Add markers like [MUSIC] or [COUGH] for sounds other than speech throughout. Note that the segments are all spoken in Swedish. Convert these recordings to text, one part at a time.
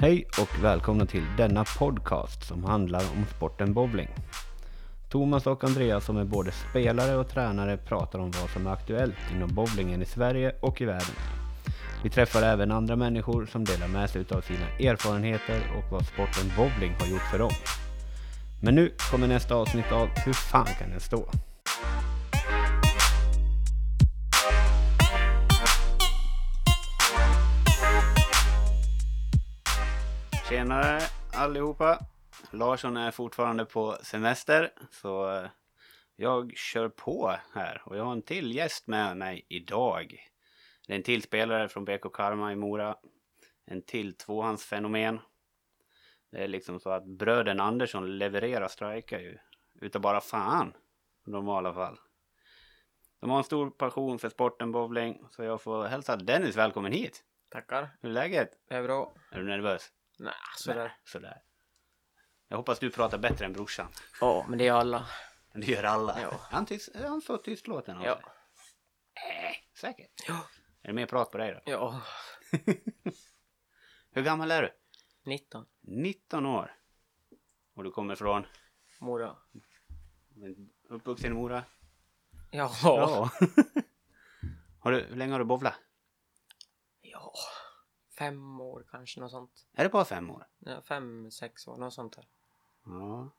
Hej och välkomna till denna podcast som handlar om sporten bowling. Thomas och Andreas som är både spelare och tränare pratar om vad som är aktuellt inom bowlingen i Sverige och i världen. Vi träffar även andra människor som delar med sig av sina erfarenheter och vad sporten bowling har gjort för dem. Men nu kommer nästa avsnitt av Hur fan kan den stå? Tjenare allihopa! Larsson är fortfarande på semester så eh, jag kör på här och jag har en till gäst med mig idag. Det är en till spelare från BK Karma i Mora. En till tvåhandsfenomen. Det är liksom så att bröden Andersson levererar strikar ju. Utav bara fan. I normala fall. De har en stor passion för sporten bowling så jag får hälsa Dennis välkommen hit. Tackar. Hur är läget? Det är bra. Är du nervös? Nej, sådär. Sådär. Jag hoppas du pratar bättre än brorsan. Ja, men det är alla. Men det gör alla. Ja. Han, tyst, han så tystlåten av Ja. sig. Äh, säkert. Ja. Är det mer prat på dig då? Ja. Hur gammal är du? 19. 19 år. Och du kommer från? Mora. Uppvuxen i Mora? Ja. [LAUGHS] har du, hur länge har du bowlat? Ja. Fem år kanske, något sånt. Är det bara fem år? Ja, fem, sex år, något sånt där. Ja.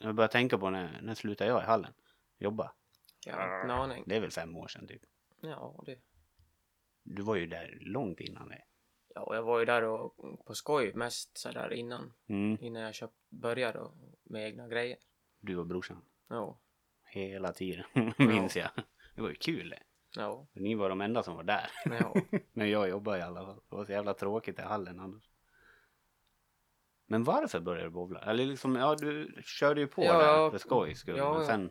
Jag börjar tänka på när, när slutar jag i hallen? Jobba? Jag har ingen aning. Det är väl fem år sedan typ. Ja, det. Du var ju där långt innan det. Ja, och jag var ju där och, på skoj mest sådär innan. Mm. Innan jag köpt, började och, med egna grejer. Du och brorsan. Ja. Hela tiden, [LAUGHS] minns jag. Det var ju kul det. Ja. Ni var de enda som var där. [LAUGHS] Ja. [LAUGHS] När jag jobbade i alla fall. Det var så jävla tråkigt i hallen annars. Men varför började du bowla? Eller liksom, ja du körde ju på Ja, där ja. för skojs skull. Ja, men ja. sen,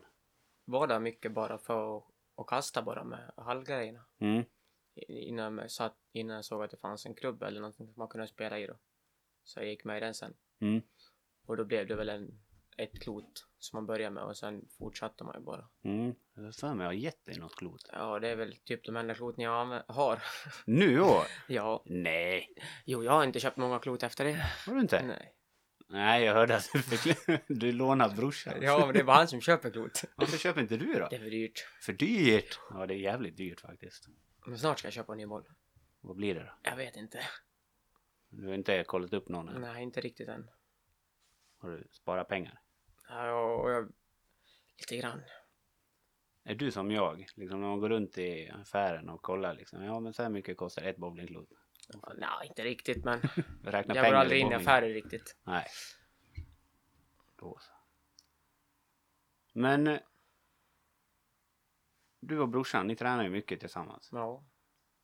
Var där mycket bara för att och kasta bara med hallgrejerna. mm, Innan jag, satt, innan jag såg att det fanns en klubb eller någonting som man kunde spela i då. Så jag gick med i den sen. mm, Och då blev det väl en, ett klot som man började med och sen fortsatte man ju bara. mm. Jag har för mig jag har gett dig något klot. Ja, det är väl typ de enda kloten jag anvä- har. [LAUGHS] Nu i år? ja, Nej, jo, jag har inte köpt många klot efter det. [LAUGHS] har du inte? Nej, Nej. jag hörde att du fick, [LAUGHS] du lånade brorsan. Ja, men det är bara han som [LAUGHS] köper klot. Varför köper inte du då? Det är för dyrt. För dyrt! Ja, det är jävligt dyrt faktiskt. Men snart ska jag köpa en ny boll. Vad blir det då? Jag vet inte. Du har inte kollat upp någon än? Nej, inte riktigt än. Har du sparat pengar? Ja, och jag... Lite grann. Är du som jag? Liksom när man går runt i affären och kollar liksom. Ja men så här mycket kostar ett bowlingklot. Ja, Nej, inte riktigt, men Räkna jag pengar går aldrig in i bowling. affärer riktigt. Nej. Då så. Men. eh, Du och brorsan, ni tränar ju mycket tillsammans. Ja,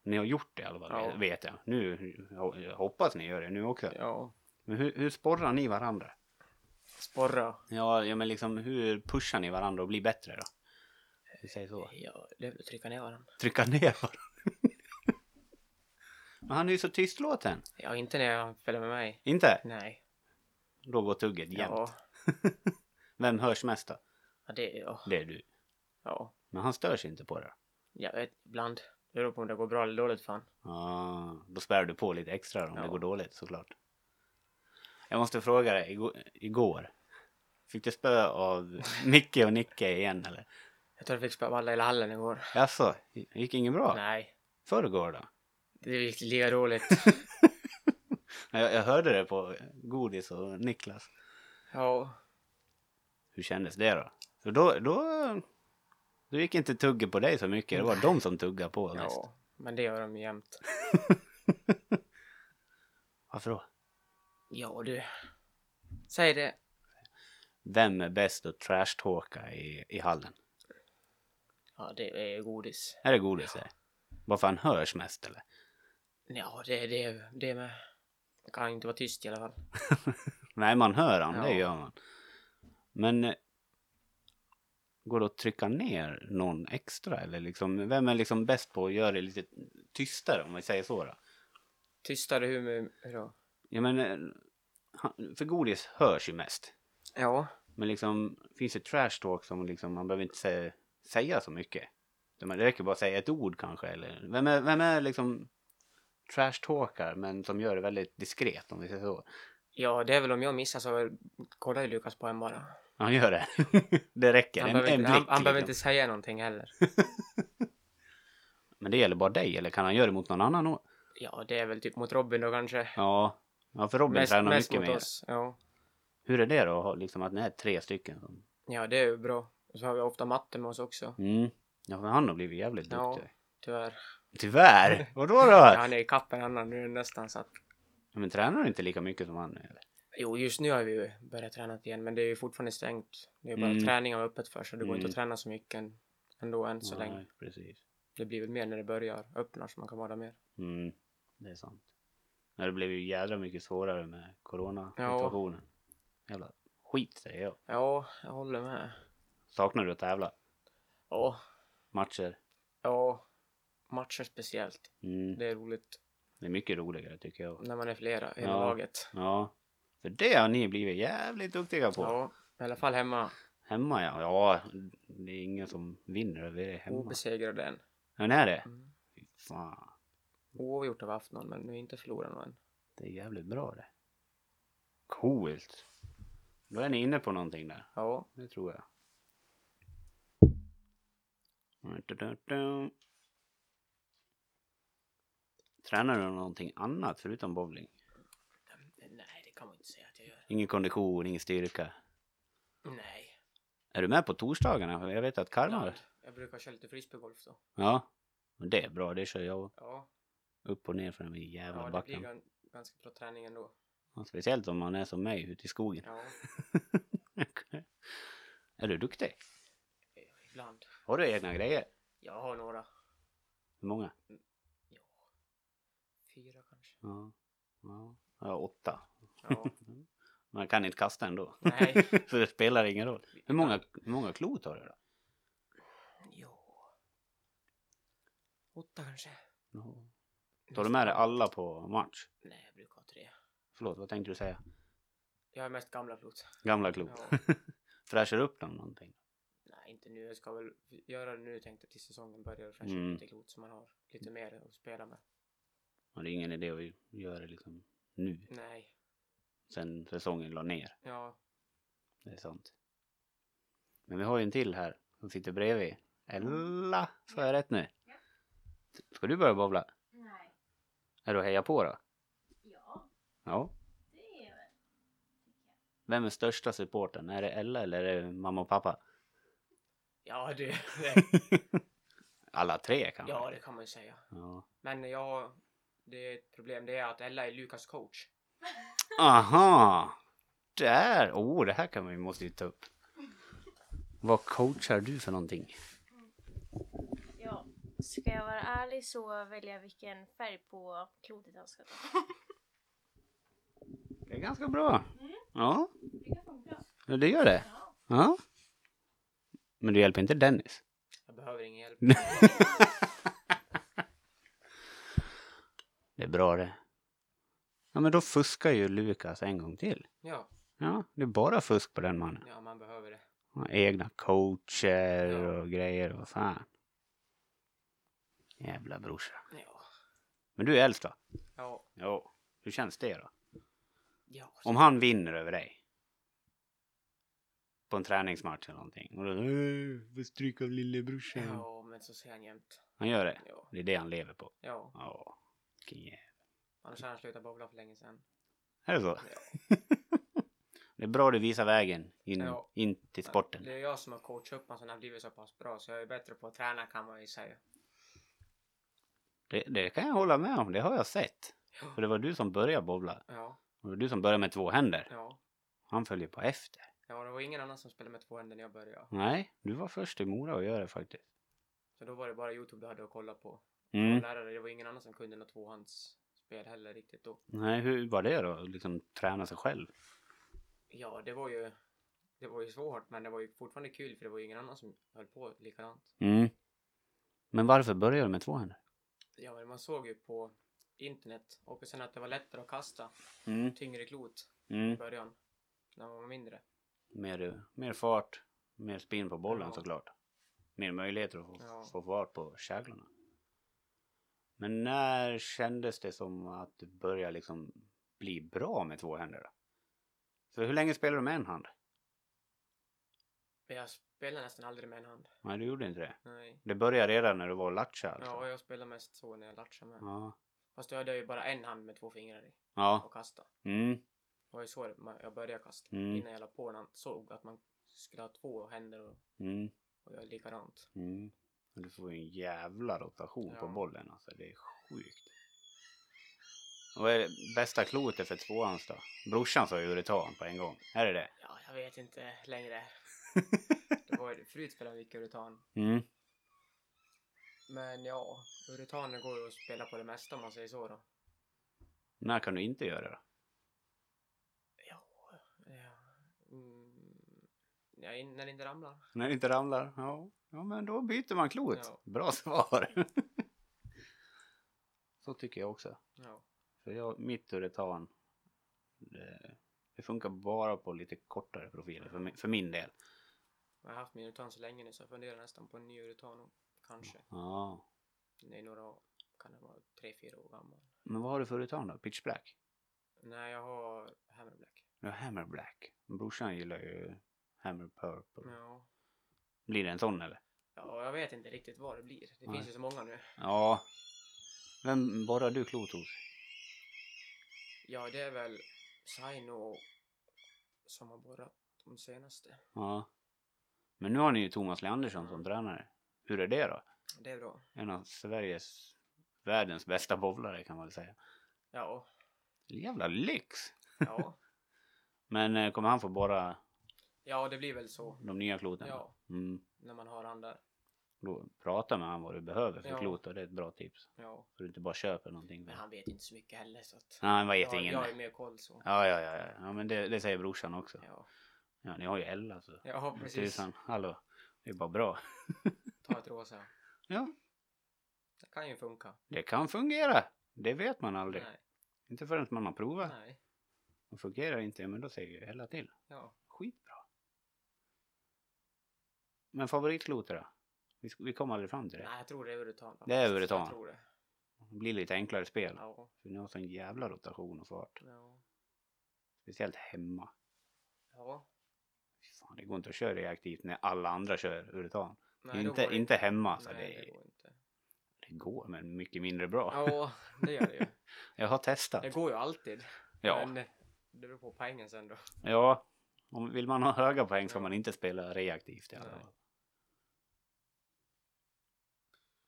Ni har gjort det i alla fall, Ja. vet jag. Nu jag hoppas ni gör det nu också. ja. Men hur, hur sporrar ni varandra? Sporra. Ja, ja, men liksom hur pushar ni varandra att bli bättre då? Vi säger så. Ja, det är väl att trycka ner varandra. trycka ner varandra. [LAUGHS] Men han är ju så tystlåten. Ja, inte när jag spelar med mig. Inte? Nej. Då går tugget jämt. Ja, Vem hörs mest då? ja det... Ja. Det är du. ja. Men han stör sig inte på det. Jag vet, ibland. Det beror på om det går bra eller dåligt för han. Ah, då spär du på lite extra om det Ja. går dåligt såklart. Jag måste fråga dig, igår, igår fick du spö [LAUGHS] av Micke och Nicke igen eller? Jag tror jag fick spöa av alla i hallen igår. Jaså, gick inget bra? Nej, Förrgår då? det gick [LAUGHS] lika dåligt. Jag, jag hörde det på Godis och Niklas. ja, Hur kändes det då? För då, då, då gick inte tugget på dig så mycket. Det var de som tuggade på mest. ja. Men det gör de ju jämt. Varför då? Ja du. Säg det. Vem är bäst att trashtalka i, i hallen? Ja, det är godis. Är det godis det? Varför han hörs mest eller? Ja, det är det, det med. Jag kan inte vara tyst i alla fall. Nej, man hör han. Det Ja. gör man. Men eh, går det att trycka ner någon extra? Eller liksom, vem är liksom bäst på att göra det lite tystare om vi säger så då? Tystare hur med... Hur då? Ja, men, eh, han- för godis hörs ju mest. Ja. Men liksom, finns det trash talk som liksom, man behöver inte sä säga så mycket? Det man- det räcker bara att säga ett ord kanske, eller vem är, vem är liksom trashtalkar men de gör det väldigt diskret om vi säger så. Ja, det är väl om jag missar så kollar ju Lukas på en bara. Han gör [LAUGHS] det. det räcker. Han en, behöver, en inte, blick. han, han behöver liksom. inte säga någonting heller. Men det gäller bara dig eller kan han göra det mot någon annan? o- Ja, det är väl typ mot Robin då kanske. Ja, ja för Robin mest tränar mest mycket mot mer. oss. Ja. Hur är det då? att ha Liksom att ni är tre stycken. som- ja, det är ju bra. Och så har vi ofta matte med oss också. Mm. Ja, men han har blivit jävligt Ja. duktig. Tyvärr. [LAUGHS] Tyvärr! Vadå då? Ja, Ja. han är i kapp en annan nu nästan så att... Men tränar du inte lika mycket som han nu? Eller? Jo, just nu har vi ju börjat träna igen, men det är ju fortfarande stängt. Det är bara Mm. träning och öppet för, så det går inte Mm. att träna så mycket än, ändå än så länge. Nej, precis. Det blir väl mer när det börjar öppnar så man kan vara där mer. Mm, det är sant. Men det blev ju jädra mycket svårare med coronasituationen. Jävla skit säger jag. Ja, jag håller med. Saknar du att tävla? Ja, Matcher? ja. Matcher speciellt. Mm. Det är roligt Det är mycket roligare tycker jag. när man är flera i hela Ja. laget. Ja. För det har ni blivit jävligt duktiga på. Ja, i alla fall hemma. Hemma ja. Ja, det är ingen som vinner över det hemma. Obesegrade än. Ja, det är det? Mm. Fy fan. Oavgjort har vi haft någon, men vi har inte förlorat någon. Det är jävligt bra det. Coolt. Då är ni inne på någonting där. Ja, Det tror jag. Tränar du någonting annat förutom bowling? nej det kan man inte säga att jag gör. Ingen kondition, ingen styrka? Nej. Är du med på torsdagarna? För Jag vet att Karma... Jag brukar köra lite frisbeegolf då. Ja. Men Det är bra, det kör jag Ja, upp och ner för den här jävla ja det blir backen. gan- ganska bra träning ändå. Och Speciellt om man är som mig ute i skogen. [LAUGHS] Ja, är du duktig? ibland. Har du egna grejer? Jag har några. Hur många? Ja. Fyra kanske. Ja. ja. Jag har åtta. [LAUGHS] Ja. Man kan inte kasta ändå. [LAUGHS] Nej. så det spelar ingen roll. Hur många, hur många klot har du då? Ja. Åtta kanske. Tar du med dig alla på match? Nej, jag brukar ha tre. Förlåt, vad tänkte du säga? Jag har mest gamla plot. Gamla klot. Ja. [LAUGHS] Fräschar upp dem någonting? Nej, inte nu. Jag ska väl göra det nu tänkte jag tills säsongen börjar och fräscha Mm. upp lite klot så man har lite mer att spela med. Ja, det är ingen idé att göra det liksom nu. Nej. Sen säsongen la ner. Ja. Det är sant. Men vi har ju en till här som sitter bredvid. Ella, sa jag rätt nu? Ja. Ska du börja bowla? Nej. Är du att heja på då? Ja, Ja. det är väl. Vem är största supporten? Är det Ella eller är det mamma och pappa? Ja, du. [LAUGHS] Alla tre kanske? ja, det kan man ju säga. Ja. Men jag, det är ett problem, det är att Ella är Lukas coach. Aha! Där! Åh, oh, det här kan vi måste ju ta upp. Vad coachar du för någonting? Ja. Ska jag vara ärlig så väljer jag vilken färg på klotet han ska ta. Det är ganska bra. Ja, Det kan funka. ja, det gör det. Ja. Ja. Men du hjälper inte Dennis. Jag behöver ingen Mm. hjälp. Det är bra det. Ja, men då fuskar ju Lukas en gång till. Ja, Ja, det är bara fusk på den mannen. ja man behöver det. Han har egna coacher Ja. och grejer och fan. Jävla brorsa. Ja, Men du är äldst va? ja, Ja. Hur känns det då? ja. Om han vinner över dig. På en träningsmatch eller någonting. Och då "Äh, får stryk av lillebrorsan. ja men så säger han jämt. Han gör det. Ja, Det är det han lever på. ja. Ja. vilken jä- Annars har han slutat bowla för länge sedan. Är det så? det är bra du visar vägen in, Ja. in till sporten. Det är jag som har coachat upp honom så han har blivit så pass bra så jag är bättre på att träna kan man ju säga. Det, det kan jag hålla med om. Det har jag sett. Ja. För det var du som började bowla. Ja, Och det var du som började med två händer. ja. Han följer på efter. Ja, det var ingen annan som spelade med två händer när jag började. Nej, du var först i Mora att göra det faktiskt. Så då var det bara Youtube du hade att kolla på. Och Mm. lärare, det var ingen annan som kunde något tvåhandsspel heller riktigt då. Nej, hur var det då? Liksom träna sig själv? Ja, det var ju... Det var ju svårt, men det var ju fortfarande kul för det var ju ingen annan som höll på likadant. Mm. Men varför började du med två händer? Ja, men man såg ju på internet och sen att det var lättare att kasta Mm. tyngre klot i Mm. början när man var mindre. Mer, eh, mer fart, mer spin på bollen Ja. såklart. Mer möjligheter att få, Ja. få fart på käglorna. Men när kändes det som att du började liksom bli bra med två händer då? Så hur länge spelade du med en hand? Men jag spelar nästan aldrig med en hand. Nej, du gjorde inte det. Nej. Det började redan när du var latcha alltså? Ja, och jag spelar mest så när jag latchar med. Ja. Fast då hade jag ju bara en hand med två fingrar i Ja. och kasta. Mm. Det var ju så man- jag började kasta. Mm. Innan jag la på den såg att man skulle ha två händer och, Mm. och göra likadant. Mm. Och Du får ju en jävla rotation på Ja. bollen alltså. Det är sjukt. Och Vad är bästa klotet för tvåans då? Brorsan sa ju uretan på en gång. Är [LAUGHS] det det? Ja, jag vet inte längre. det var, ju- förut spelade vi mycket uretan. Mm. Men ja, uretaner går ju att spela på det mesta om man säger så då. När kan du inte göra det då? Ja, ja. Mm, ja in, när det inte ramlar. När det inte ramlar? Ja, ja men då byter man klot. Ja. Bra svar! [LAUGHS] Så tycker jag också. Ja. För jag, mitt uretan, det, eh, det funkar bara på lite kortare profiler för, mi- för min del. Jag har haft min uretan så länge nu så jag funderar nästan på en ny uretan och kanske. Ja. Det är några, kan det vara, tre, fyra år gammal. Men vad har du för uretan då? Pitch black? Nej, jag har hammer black. Ja, hammer black. Brorsan gillar ju hammer purple. Ja. Blir det en sån eller? ja, jag vet inte riktigt vad det blir. Det Nej. finns ju så många nu. Ja. Vem borrar du klot hos? Ja, det är väl Saino som har borrat de senaste. Ja. Men nu har ni ju Thomas Leandersson som tränare. Hur är det då? Det är bra. En av Sveriges, världens bästa bowlare kan man väl säga. Ja, Jävla lyx! ja. Men eh, kommer han få borra ja, det blir väl så. de nya kloten? Ja, Mm. när man har han där. Då, prata med han vad du behöver för Ja. klot och det är ett bra tips. Ja, Så du inte bara köper någonting. men Nej, han vet inte så mycket heller så att. han vet jag, ingen. jag är mer koll så. Ja, ja, ja, ja. ja men det, det säger brorsan också. Ja, Ja, ni har ju Ella så. ja precis. Tusan, hallå. Det är bara bra. Ta ett rosa. Ja, Det kan ju funka. det kan fungera. Det vet man aldrig. Nej. Inte förrän man har provat. Nej. Och fungerar inte, men då säger ju Ella till. Ja. Skitbra. Men favoritklotet då? Vi, sk- vi kom aldrig fram till det. Nej, jag tror det är uretan. faktiskt. Det är uretan. Jag tror det. Det blir lite enklare spel. Ja. För ni har sån jävla rotation och fart. Ja. Speciellt hemma. ja. Fy Fan, det går inte att köra reaktivt när alla andra kör uretan. Nej, då inte, går det inte hemma. Så Nej, det, det går inte. det går, men mycket mindre bra. Ja, det gör det [LAUGHS] ju. Jag har testat. Det går ju alltid. ja. Men det beror på poängen sen då. ja. Om, vill man ha höga poäng ska Ja. man inte spela reaktivt i alla Nej. fall.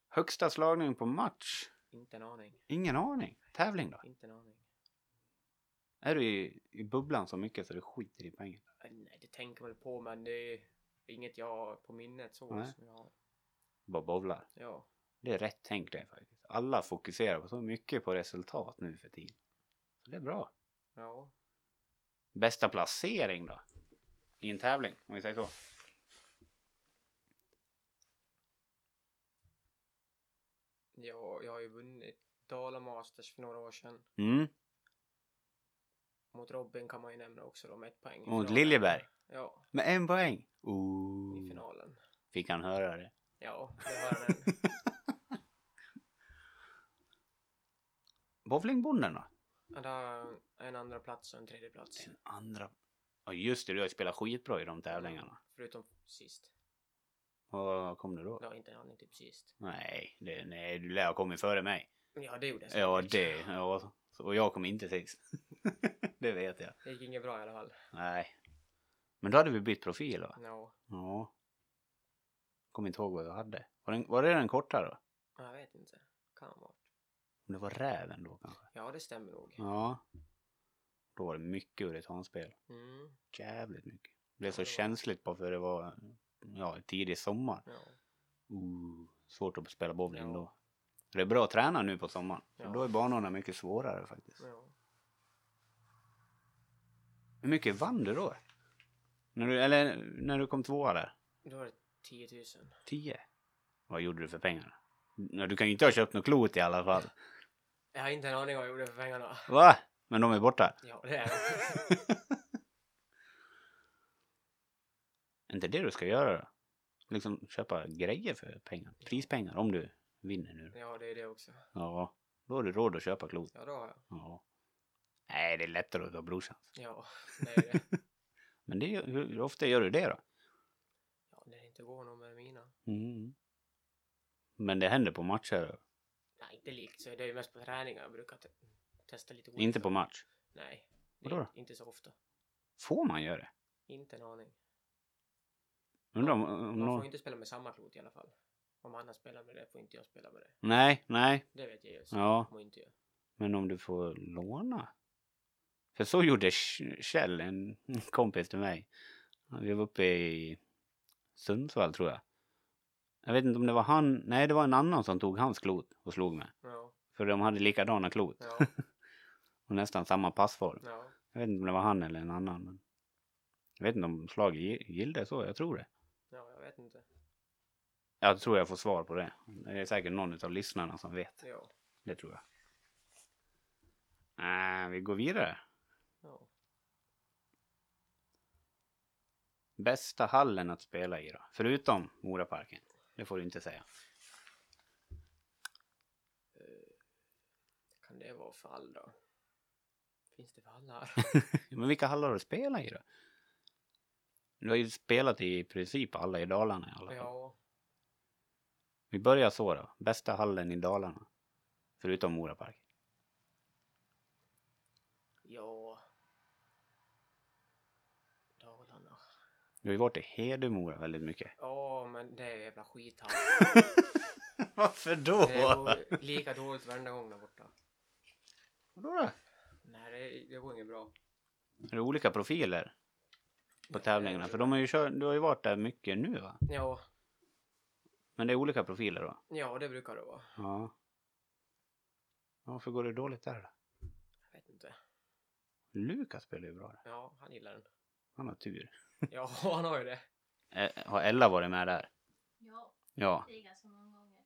Högsta slagning på match? Inte en aning. Ingen aning. Tävling då? Inte en aning. Är du i, i bubblan så mycket så du skiter i poängen? Äh, Nej, det tänker man väl på men det är inget jag har på minnet så Nej. som jag har. Bara bowlar. Ja. Det är rätt tänkt det faktiskt. Alla fokuserar på så mycket på resultat nu för tiden. Så det är bra. Ja. Bästa placering då? I en tävling, om vi säger så. Jag, jag har ju vunnit Dala Masters för några år sedan. Mm. Mot Robin kan man ju nämna också då med ett poäng. Mot i finalen. Liljeberg. Mm. Ja, Med en poäng. i Ooh. finalen. Fick han höra det? Ja, det har han än. [LAUGHS] Bowlingbonden då? [LAUGHS] Han har en andra plats och en tredje plats. Sin andra... Ja just det, du har ju spelat skitbra i de tävlingarna. Förutom sist. Och vad kom du då? Jag har inte en aning typ sist. Nej, det, nej, du lär ha kommit före mig. Ja, det gjorde jag Ja, säkert. det. Ja, och jag kom inte sist. [LAUGHS] det vet jag. Det gick inget bra i alla fall. Nej. Men då hade vi bytt profil va? Ja, Ja. Kommer inte ihåg vad jag hade. Var, den, var det den korta då? jag vet inte. Kan vara. Om det var räven då kanske? Ja, det stämmer nog. Ja. Då var det mycket uretanspel. Mm, Jävligt mycket. Det blev Ja, så det var- känsligt bara för det var ja, tidig sommar. ja. Ooh, svårt att spela bowling Ja. då. Det är bra att träna nu på sommaren. Ja. Då är banorna mycket svårare faktiskt. ja. Hur mycket vann du då? När du, eller när du kom tvåa där? Då var det 10 000. Tio? Vad gjorde du för pengarna? Ja, Du kan ju inte ha köpt något klot i alla [LAUGHS] fall. Jag har inte en aning vad jag gjorde för pengarna. Va? Men de är borta? Ja, det är det. Är inte det du ska göra då? Liksom köpa grejer för pengar? Prispengar om du vinner nu. Ja, det är det också. Ja, då har du råd att köpa klot. Ja, det har jag. Ja. Nej, det är lättare att ta brorsans. Ja, det är det. Men det, är ju- hur, hur ofta gör du det då? Ja, när det inte går någon med mina. Mm. Men det händer på matcher? Nej, inte likt så. Det är ju mest på träningar jag brukar te- testa lite olika. Inte på match? Nej. det Vadå är då? Inte så ofta. Får man göra det? Inte en aning. Undrar om, om Man får någon... inte spela med samma klot i alla fall. Om han har spelat med det får inte jag spela med det. Nej, nej. Det vet jag ju. Så Ja. får inte jag. Men om du får låna? För så gjorde Sh- Kjell, en [LAUGHS] kompis till mig. Vi var uppe i Sundsvall tror jag. Jag vet inte om det var han, nej det var en annan som tog hans klot och slog mig. Ja, För de hade likadana klot ja, och nästan samma passform. ja. Jag vet inte om det var han eller en annan. Men jag vet inte om slag gi- gilde så, jag tror det. Ja, jag vet inte. Jag tror jag får svar på det. Det är säkert någon av lyssnarna som vet. Ja. Det tror jag. Äh, vi går vidare. ja. Bästa hallen att spela i då? Förutom Moraparken. Det får du inte säga. Eh, Kan det vara för all då? Finns det för alla? Men vilka hallar har du spelat i då? Du har ju spelat i i princip alla i Dalarna i alla fall. ja. Vi börjar så då. Bästa hallen i Dalarna. Förutom Moraparken. Ja. Dalarna. Du har ju varit i Hedemora väldigt mycket. Ja, men det är jävla skithall. [LAUGHS] Varför då? Det [LAUGHS] går lika dåligt varenda gång där borta. Vadå då? Nej, det, det går inget bra. Är det olika profiler på tävlingarna? För de har ju kört, du har ju varit där mycket nu va? Ja, Men det är olika profiler då? ja, det brukar det vara. Ja. Varför går det dåligt där då? Jag vet inte. Lukas spelar ju bra där. Ja, han gillar den. Han har tur. Ja, [LAUGHS] han har ju det. Eh, Har Ella varit med där? Ja, Ja. det är ganska många gånger.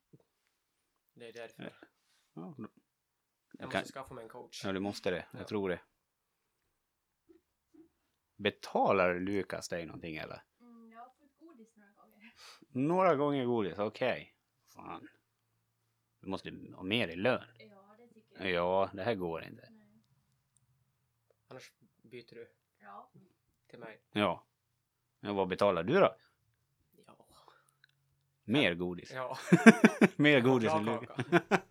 Det är därför. Ja, Ja, då- Jag Jag kan... måste skaffa mig en coach. ja du måste det. Ja. Jag tror det. Betalar Lukas dig någonting eller? Mm, jag har fått godis några gånger. Några gånger godis, okej. Fan. Du måste ha mer i lön. Ja, det tycker jag. Ja, det här går inte. Nej. Annars byter du Ja. till mig. Ja. Men vad betalar du då? Ja. Mer godis. Ja. [LAUGHS] mer Jag har [LAUGHS] godis än Lukas. klarkaka.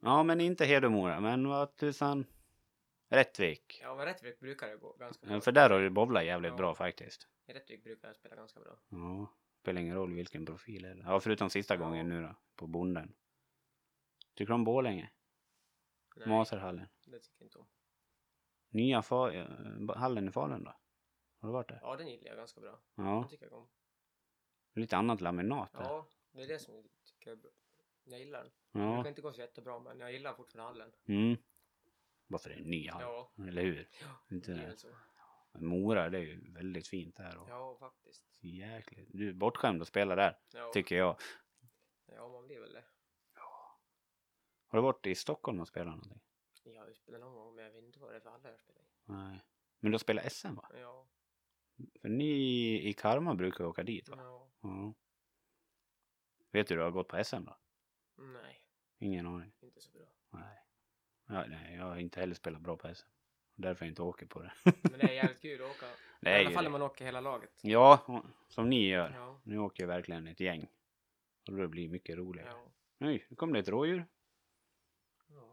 Ja, men inte Hedemora. Men vad tusan. Rättvik. Ja, men Rättvik brukar det gå ganska bra. Ja, För där har du bowlat jävligt Ja. bra faktiskt. I Rättvik brukar jag spela ganska bra. Ja, spelar ingen roll vilken profil det är. Ja, förutom sista Ja. gången nu då, på bonden. Tycker du om Borlänge? Nej, Maserhallen? det tycker jag inte om. Nya fa- eh, hallen i Falun då? Har du varit där? Ja, den gillar jag ganska bra. Ja, Den tycker jag om. lite annat laminat där. Ja, det är det som jag tycker är bra. Jag gillar den. Det Ja, kan inte gå så jättebra, men jag gillar fortfarande hallen. mm. Bara för det är en ny hall, Ja, eller hur? Ja, det är Inte, väl så. Mora, det är ju väldigt fint där och Ja, faktiskt. jäkligt. Du är bortskämd att spela där, Ja, tycker jag. ja man blir väl det. Har du varit i Stockholm och spelat någonting? Jag har ju spelat någon gång, men jag vet inte vad det är för hallar jag spelar i. Nej. Men du har spelat SM va? Ja, För ni i Karma brukar åka dit va? ja, Ja. Vet du hur det har gått på SM då? nej, Ingen aning. inte så bra. Nej. Ja, nej, jag har inte heller spelat bra på SM. Därför jag inte åker på det. Men det är jävligt kul att [LAUGHS] åka. Det I är alla ju fall det. när man åker hela laget. Ja, och- som ni gör. Ja, Nu åker jag verkligen ett gäng. Och då blir det mycket roligare. ja, Oj, nu kom det ett rådjur. ja.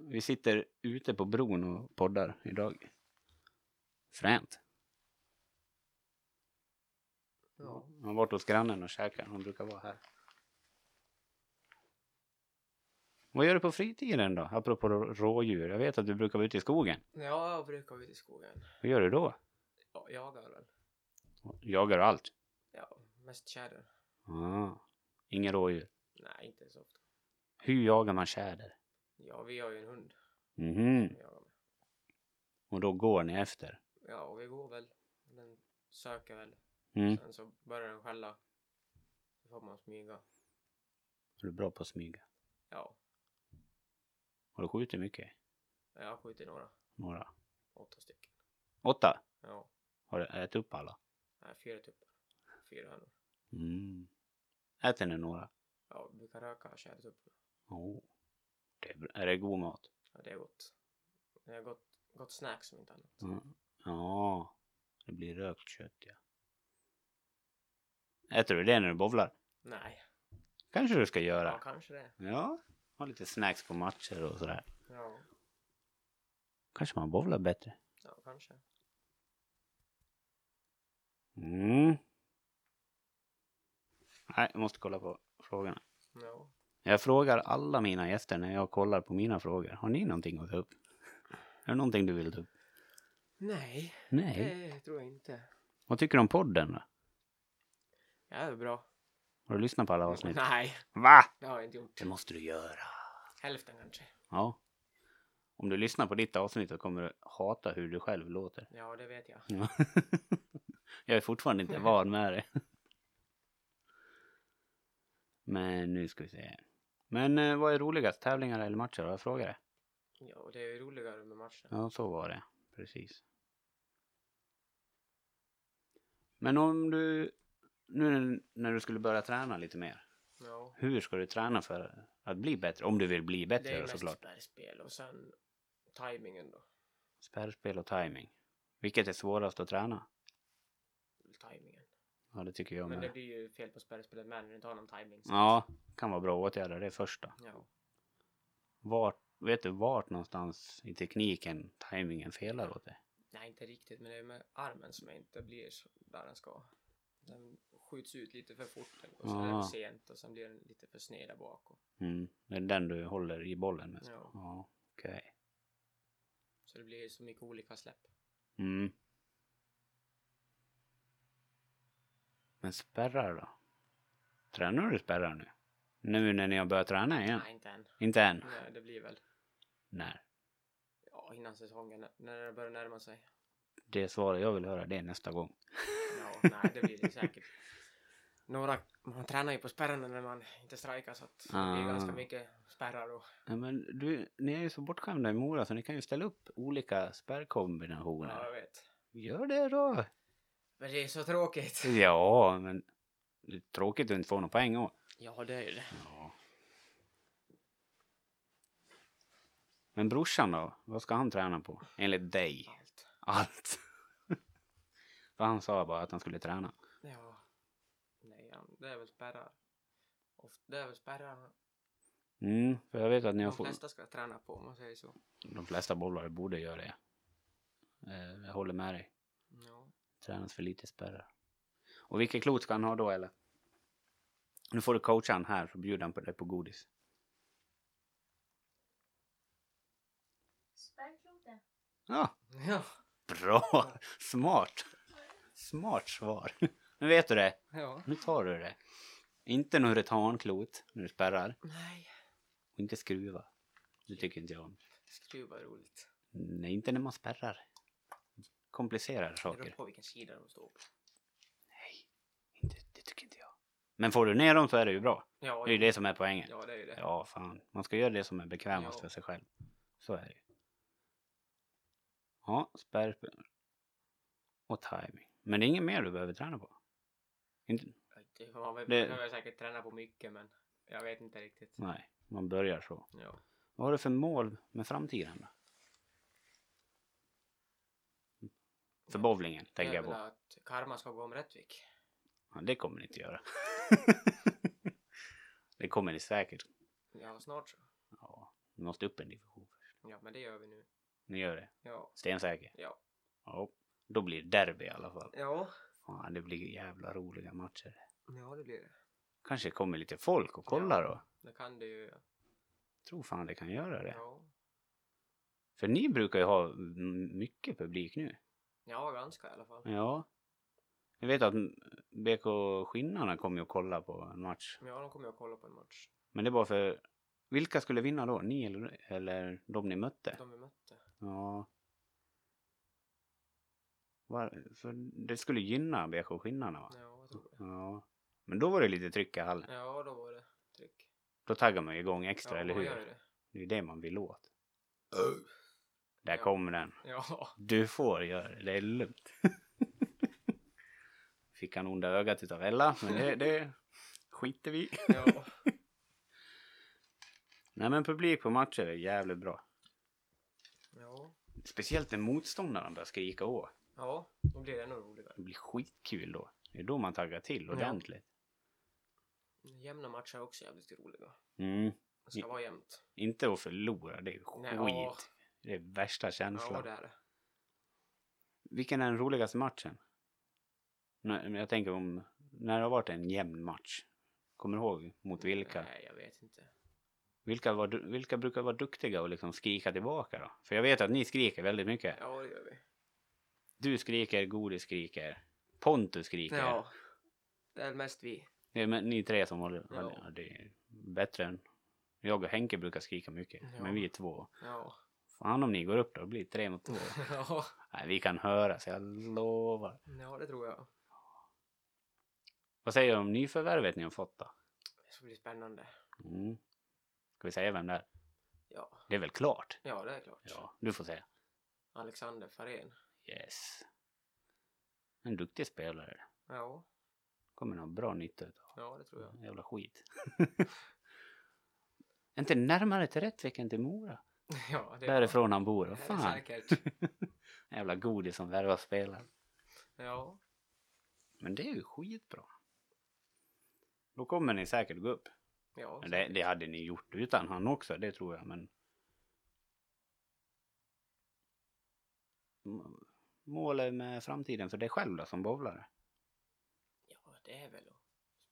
Vi sitter ute på bron och poddar idag. Fränt. ja. Han har varit hos grannen och käkat. Han brukar vara här. Vad gör du på fritiden då? Apropå rå- rådjur. Jag vet att du brukar vara ute i skogen. Ja, jag brukar vara ute i skogen. Vad gör du då? Ja, jagar väl. Jagar allt? Ja, mest tjäder. Ah, ingen rådjur. Nej, inte så ofta. Hur jagar man tjäder? Ja, vi har ju en hund. Mhm. som vi jagar med. Och då går ni efter? Ja, och vi går väl. Den söker väl. Mm. Sen så börjar den skälla. Så får man smyga. Är du bra på att smyga? Ja, Har du skjutit mycket? jag har skjutit några. Några? Åtta stycken. Åtta? Ja, Har du ätit upp alla? nej, typ. fyra tuppar. Fyra hönor. Mm. Äter ni några? Ja, brukar röka och köra upp. Oh. Det är, bra. är det god mat? Ja, det är gott. Det är gott, gott snacks om inte annat. Ja. ja, det blir rökt kött ja. Äter du det när du bowlar? Nej, Kanske du ska ja, göra. kanske det. Ja, ha lite snacks på matcher och sådär. Ja, Kanske man bowlar bättre. ja kanske. Mm. Nej, jag måste kolla på frågorna. Ja. Jag frågar alla mina gäster när jag kollar på mina frågor. Har ni någonting att ta upp? Är det någonting du vill ta upp? Nej, Nej. det tror jag inte. Vad tycker du om podden då? Ja, det är bra. Har du lyssnat på alla avsnitt? Mm. Nej, Va? det har jag inte gjort. Det måste du göra. Hälften kanske. Ja. Om du lyssnar på ditt avsnitt så kommer du hata hur du själv låter. Ja, det vet jag. Ja. [LAUGHS] Jag är fortfarande inte van med det. Men nu ska vi se. Men eh, vad är roligast? Tävlingar eller matcher? Har jag frågat det? Ja, och det är ju roligare med matchen. Ja, så var det. Precis. Men om du... Nu när du skulle börja träna lite mer. Ja. Hur ska du träna för att bli bättre? Om du vill bli Det är bättre ju mest såklart. spärrspel och sen tajmingen då. Spärrspel och timing. Vilket är svårast att träna? Tajmingen. Ja, det tycker jag Men det med. blir ju fel på spärrspelet med när du inte har någon tajming. så- Ja, kan vara bra att åtgärda det första. ja. Vart, vet du vart någonstans i tekniken timingen felar åt dig? Nej, inte riktigt. Men det är med armen som inte blir så där den ska. Den skjuts ut lite för fort och så är Ah. det sent och sen blir den lite för sned där bak. Och, Mm, det är den du håller i bollen med. ja. Ja, okej. Så det blir ju så mycket olika släpp. Mm. Men spärrar då? Tränar du spärrar nu? Nu när ni har börjat träna igen? Nej, inte än. Inte än? Nej, det blir väl När? ja, innan säsongen när det börjar närma sig. Det svaret jag vill höra det är nästa gång. [LAUGHS] Ja, nej, det blir det säkert. Några, man tränar ju på spärrarna när man inte strejkar så att det blir Ah. ganska mycket spärrar och Ja, men du, ni är ju så bortskämda i Mora så ni kan ju ställa upp olika spärrkombinationer. ja, jag vet. Gör det då! Men det är så tråkigt. Ja, men det är tråkigt att inte få någon poäng också. Ja, det är ju det. Ja. Men brorsan då? Vad ska han träna på? Enligt dig? Allt. Allt. [LAUGHS] För han sa bara att han skulle träna. Ja. Nej, han- det är väl spärrar. Oft- Det är väl spärrar Mm, för jag vet att ni har de fått... flesta ska träna på om man säger så. De flesta bollare borde göra det. Eh, Jag håller med dig. Ja. [LAUGHS] Tränas för lite spärrar. Och vilket klot ska han ha då eller? Nu får du coacha han här så bjuder han på dig på godis. Spärrkloten. Ja, Ja. bra! Smart! Smart svar. Nu vet du det. ja. Nu tar du det. Inte något retanklot när du spärrar. Nej. Och inte skruva. Det tycker inte jag om. Skruv var roligt. Nej, inte när man spärrar. Komplicerade Det beror saker. på vilken sida de står på. Nej, inte, det tycker inte jag. Men får du ner dem så är det ju bra. Ja, Det är ju det som är poängen. ja, det är ju det. Ja, fan. Man ska göra det som är bekvämast Ja. för sig själv. Så är det ju. Ja, spärr och timing. Men det är inget mer du behöver träna på? Inte, Det, man det... Det- behöver säkert träna på mycket men jag vet inte riktigt. nej, man börjar så. Ja. Vad har du för mål med framtiden? då? För bowlingen tänker jag vill på. att Karma ska gå om Rättvik. Ja, det kommer ni inte göra. [LAUGHS] det kommer ni säkert. Ja, snart så. Ja, ni måste upp en division först. Ja, men det gör vi nu. Ni gör det. Ja. Stensäker. Ja. Ja, då blir det derby i alla fall. Ja. Fan, det blir jävla roliga matcher. Ja, det blir det. Kanske kommer lite folk och kollar då. Det kan det ju. Tror fan det kan göra det. Ja. För ni brukar ju ha mm, mycket publik nu. Ja, ganska i alla fall. Ja. Jag vet att BK Skinnarna kom ju och kollade på en match. Men ja, de kommer jag kolla på en match. Men det var för... Vilka skulle vinna då? Ni eller, eller de ni mötte? De vi mötte. Ja. Var, för det skulle gynna BK Skinnarna va? Ja, jag tror det. Ja. Men då var det lite tryck i hallen. Ja, då var det tryck. Då taggar man ju igång Ja, extra, eller man hur? gör ju det. Det är ju det man vill åt. Där Ja. kommer den. Ja. [LAUGHS] Du får göra det, det är lugnt. Fick han onda ögat utav Ella, men det, det skiter vi i. Ja. Nej men publik på matcher är jävligt bra. ja. Speciellt när motståndaren börjar skrika å. Ja, då blir det ännu roligare. Det blir skitkul då. Det är då man taggar till Ja. ordentligt. Jämna matcher är också jävligt roliga. Mm. Det ska vara jämnt. Inte att förlora, det är Nej, ja. skit. Det är värsta Ja, känslan. det är det. Vilken är den roligaste matchen? Nej, men Jag tänker om när det har varit en jämn match. Kommer du ihåg mot vilka? Nej, jag vet inte. Vilka, var, du- vilka brukar vara duktiga och liksom skrika tillbaka då? För jag vet att ni skriker väldigt mycket. Ja, det gör vi. Du skriker, Godis skriker, Pontus skriker. Ja. Det är mest vi. Det är men ni tre som håller... Ja. Ja. Det är bättre än... Jag och Henke brukar skrika mycket, Ja. men vi är två. Ja. Fan om ni går upp då, det blir tre mot två. [LAUGHS] Ja, Nej, vi kan höra, så jag lovar. ja det tror jag. Vad säger du om nyförvärvet ni har fått då? Det ska bli spännande. Mm. Ska vi säga vem det är? Ja, Det är väl klart? ja det är klart. Ja, du får säga. Alexander Fahren. Yes. En duktig spelare. Ja, Kommer ha bra nytta utav. ja det tror jag. [LAUGHS] Jävla skit. [LAUGHS] Är inte närmare till Rättvik än till Mora. Ja, det Därifrån han bor. Det Vad är fan. säkert. [LAUGHS] Jävla godis som värvar spelare. Ja, Men det är ju skitbra. Då kommer ni säkert gå upp. ja. Men det, det hade ni gjort utan han också, det tror jag. Men... M- Målet med framtiden för dig själv då, som bowlare? Ja, det är väl att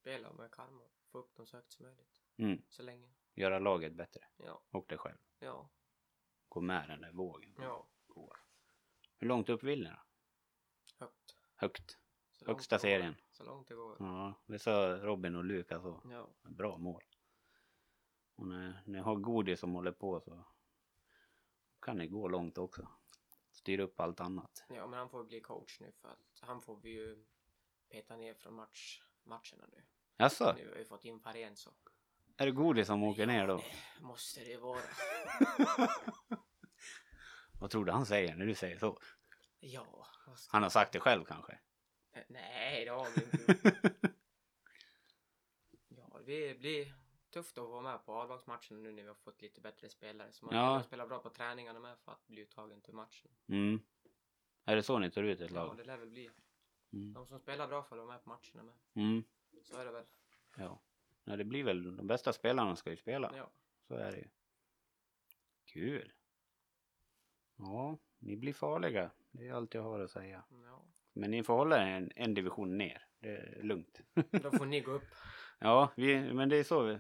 spela med karma. Få upp dem så högt som möjligt. Mm. Så länge. Göra laget bättre Ja, och dig själv. ja, Gå med den där vågen. ja. Går. Hur långt upp vill ni då? Högt. Högt. Så långt Högsta det går. serien. Mm. Så långt det går. Ja, det sa Robin och Lukas så. Ja, Bra mål. Och när ni har godis som håller på så kan ni gå långt också. Styr upp allt annat. ja, men han får bli coach nu för att han får vi ju peta ner från match, matcherna nu. Jaså, Nu har vi fått in Fahren så. är det godis som åker ner då? [LAUGHS] Måste det vara. Vad tror du han säger när du säger så? Ja. vad ska- Han har sagt det själv kanske? Eh, Nej, det har vi inte. [LAUGHS] ja, det blir tufft att vara med på avlagsmatchen nu när vi har fått lite bättre spelare. Så man Ja. ja. spelar bra på träningarna med för att bli uttagen till matchen. Mm. Är det så ni tar ut ett Ja, lag? det lär väl bli. Mm. De som spelar bra får vara med på matcherna med. Mm. Så är det väl. Ja. ja, det blir väl de bästa spelarna ska ju spela. Ja. Så är det ju. Kul. Ja, ni blir farliga. Det är allt jag har att säga. ja. Men ni får hålla er en, en division ner. Det är lugnt. Då får ni gå upp. Ja, vi, men det är så vi,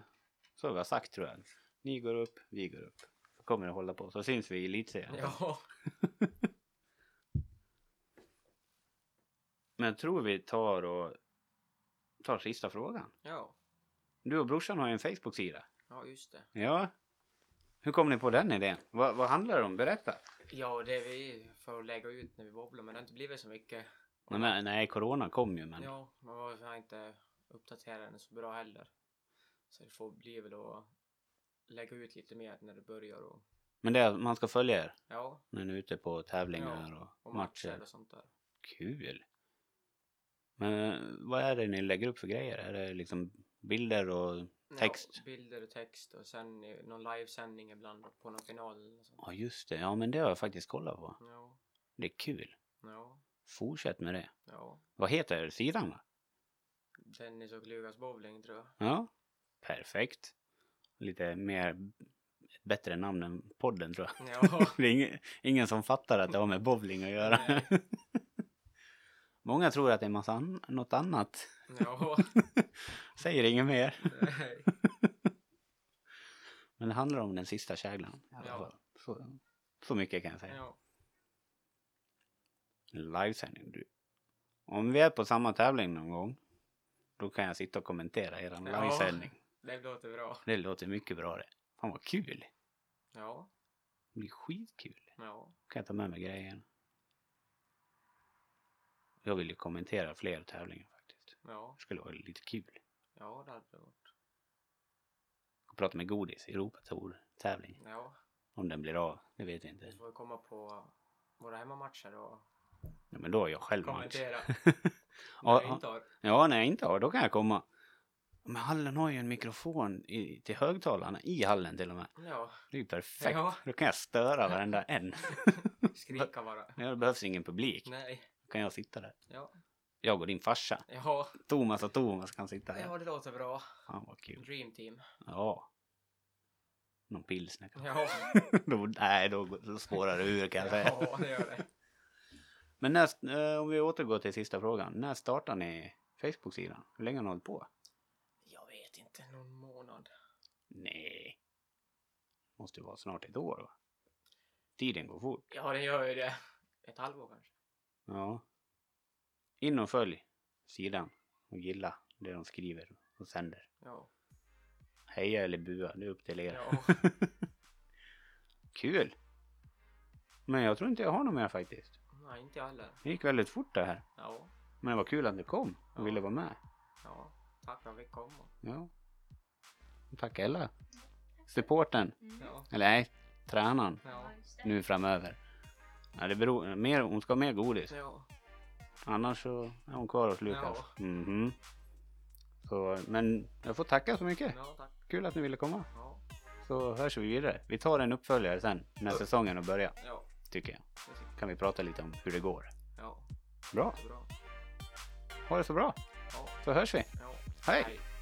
så vi har sagt tror jag. Ni går upp, vi går upp. Så kommer det hålla på. Så syns vi i elitserien. [LAUGHS] Ja. Men jag tror vi tar och tar sista frågan. Ja. Du och brorsan har ju en Facebook-sida. Ja, just det. Ja. Hur kom ni på den idén? Vad, vad handlar det om? Berätta. Ja, det vi får lägga ut när vi bobblar men det har inte blivit så mycket. Nej, men, nej corona kom ju men. Ja, man var har inte uppdaterat den så bra heller. Så det får bli väl att lägga ut lite mer när det börjar och Men det är, att man ska följa er ja, när ni är ute på tävlingar och, och matcher. matcher och sånt där. Kul. Men vad är det ni lägger upp för grejer? Är det liksom bilder och... Text. Ja, bilder och text och sen eh, någon livesändning ibland på någon final eller sånt. Ja just det, ja men det har jag faktiskt kollat på. Ja, Det är kul. ja, Fortsätt med det. ja. Vad heter sidan va? Dennis och Lukas bowling tror jag. Ja, perfekt. Lite mer, ett bättre namn än podden tror jag. [LAUGHS] Ja, Det är ingen, ingen som fattar att det har med bowling att göra. Nej. [LAUGHS] Många tror att det är massa an- något annat. ja, Säger inget mer. nej. Men det handlar om den sista käglan. i alla Ja. fall. Så, så mycket kan jag säga. ja, Livesändning. Du. Om vi är på samma tävling någon gång. Då kan jag sitta och kommentera eran Ja. livesändning. det låter bra. Det låter mycket bra det. Fan vad kul. Ja, Det blir skitkul. ja, Kan jag ta med mig grejen. Jag vill ju kommentera fler tävlingar faktiskt. ja, Det skulle vara lite kul. ja, det hade det varit. Och prata med Godis, Europatour tävling. Ja, Om den blir av, det vet jag inte. vi får komma på våra hemmamatcher och Nej, men då är jag själv match. kommentera. Ja, Nej, ja. inte har. Ja, när jag inte har, då kan jag komma. Men hallen har ju en mikrofon i, till högtalarna i hallen till och med. Ja, Det är ju perfekt. Ja. Då kan jag störa varenda en. skrika bara. Ja, Det behövs ingen publik. Nej, Då kan jag sitta där. ja, Jag och din farsa. ja, Thomas och Thomas kan sitta där. ja, det låter bra. Fan vad kul. Dream team. Ja. Någon pilsner kanske. Ja, [LAUGHS] då, nej, då, går- då spårar det ur kan jag säga. ja det gör det. Men när, eh, om vi återgår till sista frågan. När startar ni Facebook-sidan? Hur länge har ni hållit på? Jag vet inte, någon månad. Nej. Måste ju vara snart ett år va? Tiden går fort. Ja, det gör ju det. Ett halvår kanske. Ja. In och följ sidan och gilla det de skriver och sänder. Ja, Heja eller bua, det är upp till er. ja. Kul! Men jag tror inte jag har något mer faktiskt. Nej, inte jag heller. Det gick väldigt fort det här. Ja, Men det var kul att du kom och Ja. ville vara med. ja. Tack för att vi kom. Ja. Tack Ella. Supporten. Mm. Ja, Eller nej, tränaren. ja, just det. Nu framöver. Ja, det beror, mer, hon ska ha mer godis. ja. Annars så är hon kvar hos Lukas. Mhm. Så, men jag får tacka så mycket. Ja, tack. Kul att ni ville komma. Ja, Så hörs vi vidare. Vi tar en uppföljare sen när Ja. säsongen har börjat. ja, Tycker jag. det tycker jag. Kan vi prata lite om hur det går. Ja, Bra. det är bra. Ha det så bra. Ja, Så hörs vi. ja. Hej. Hej.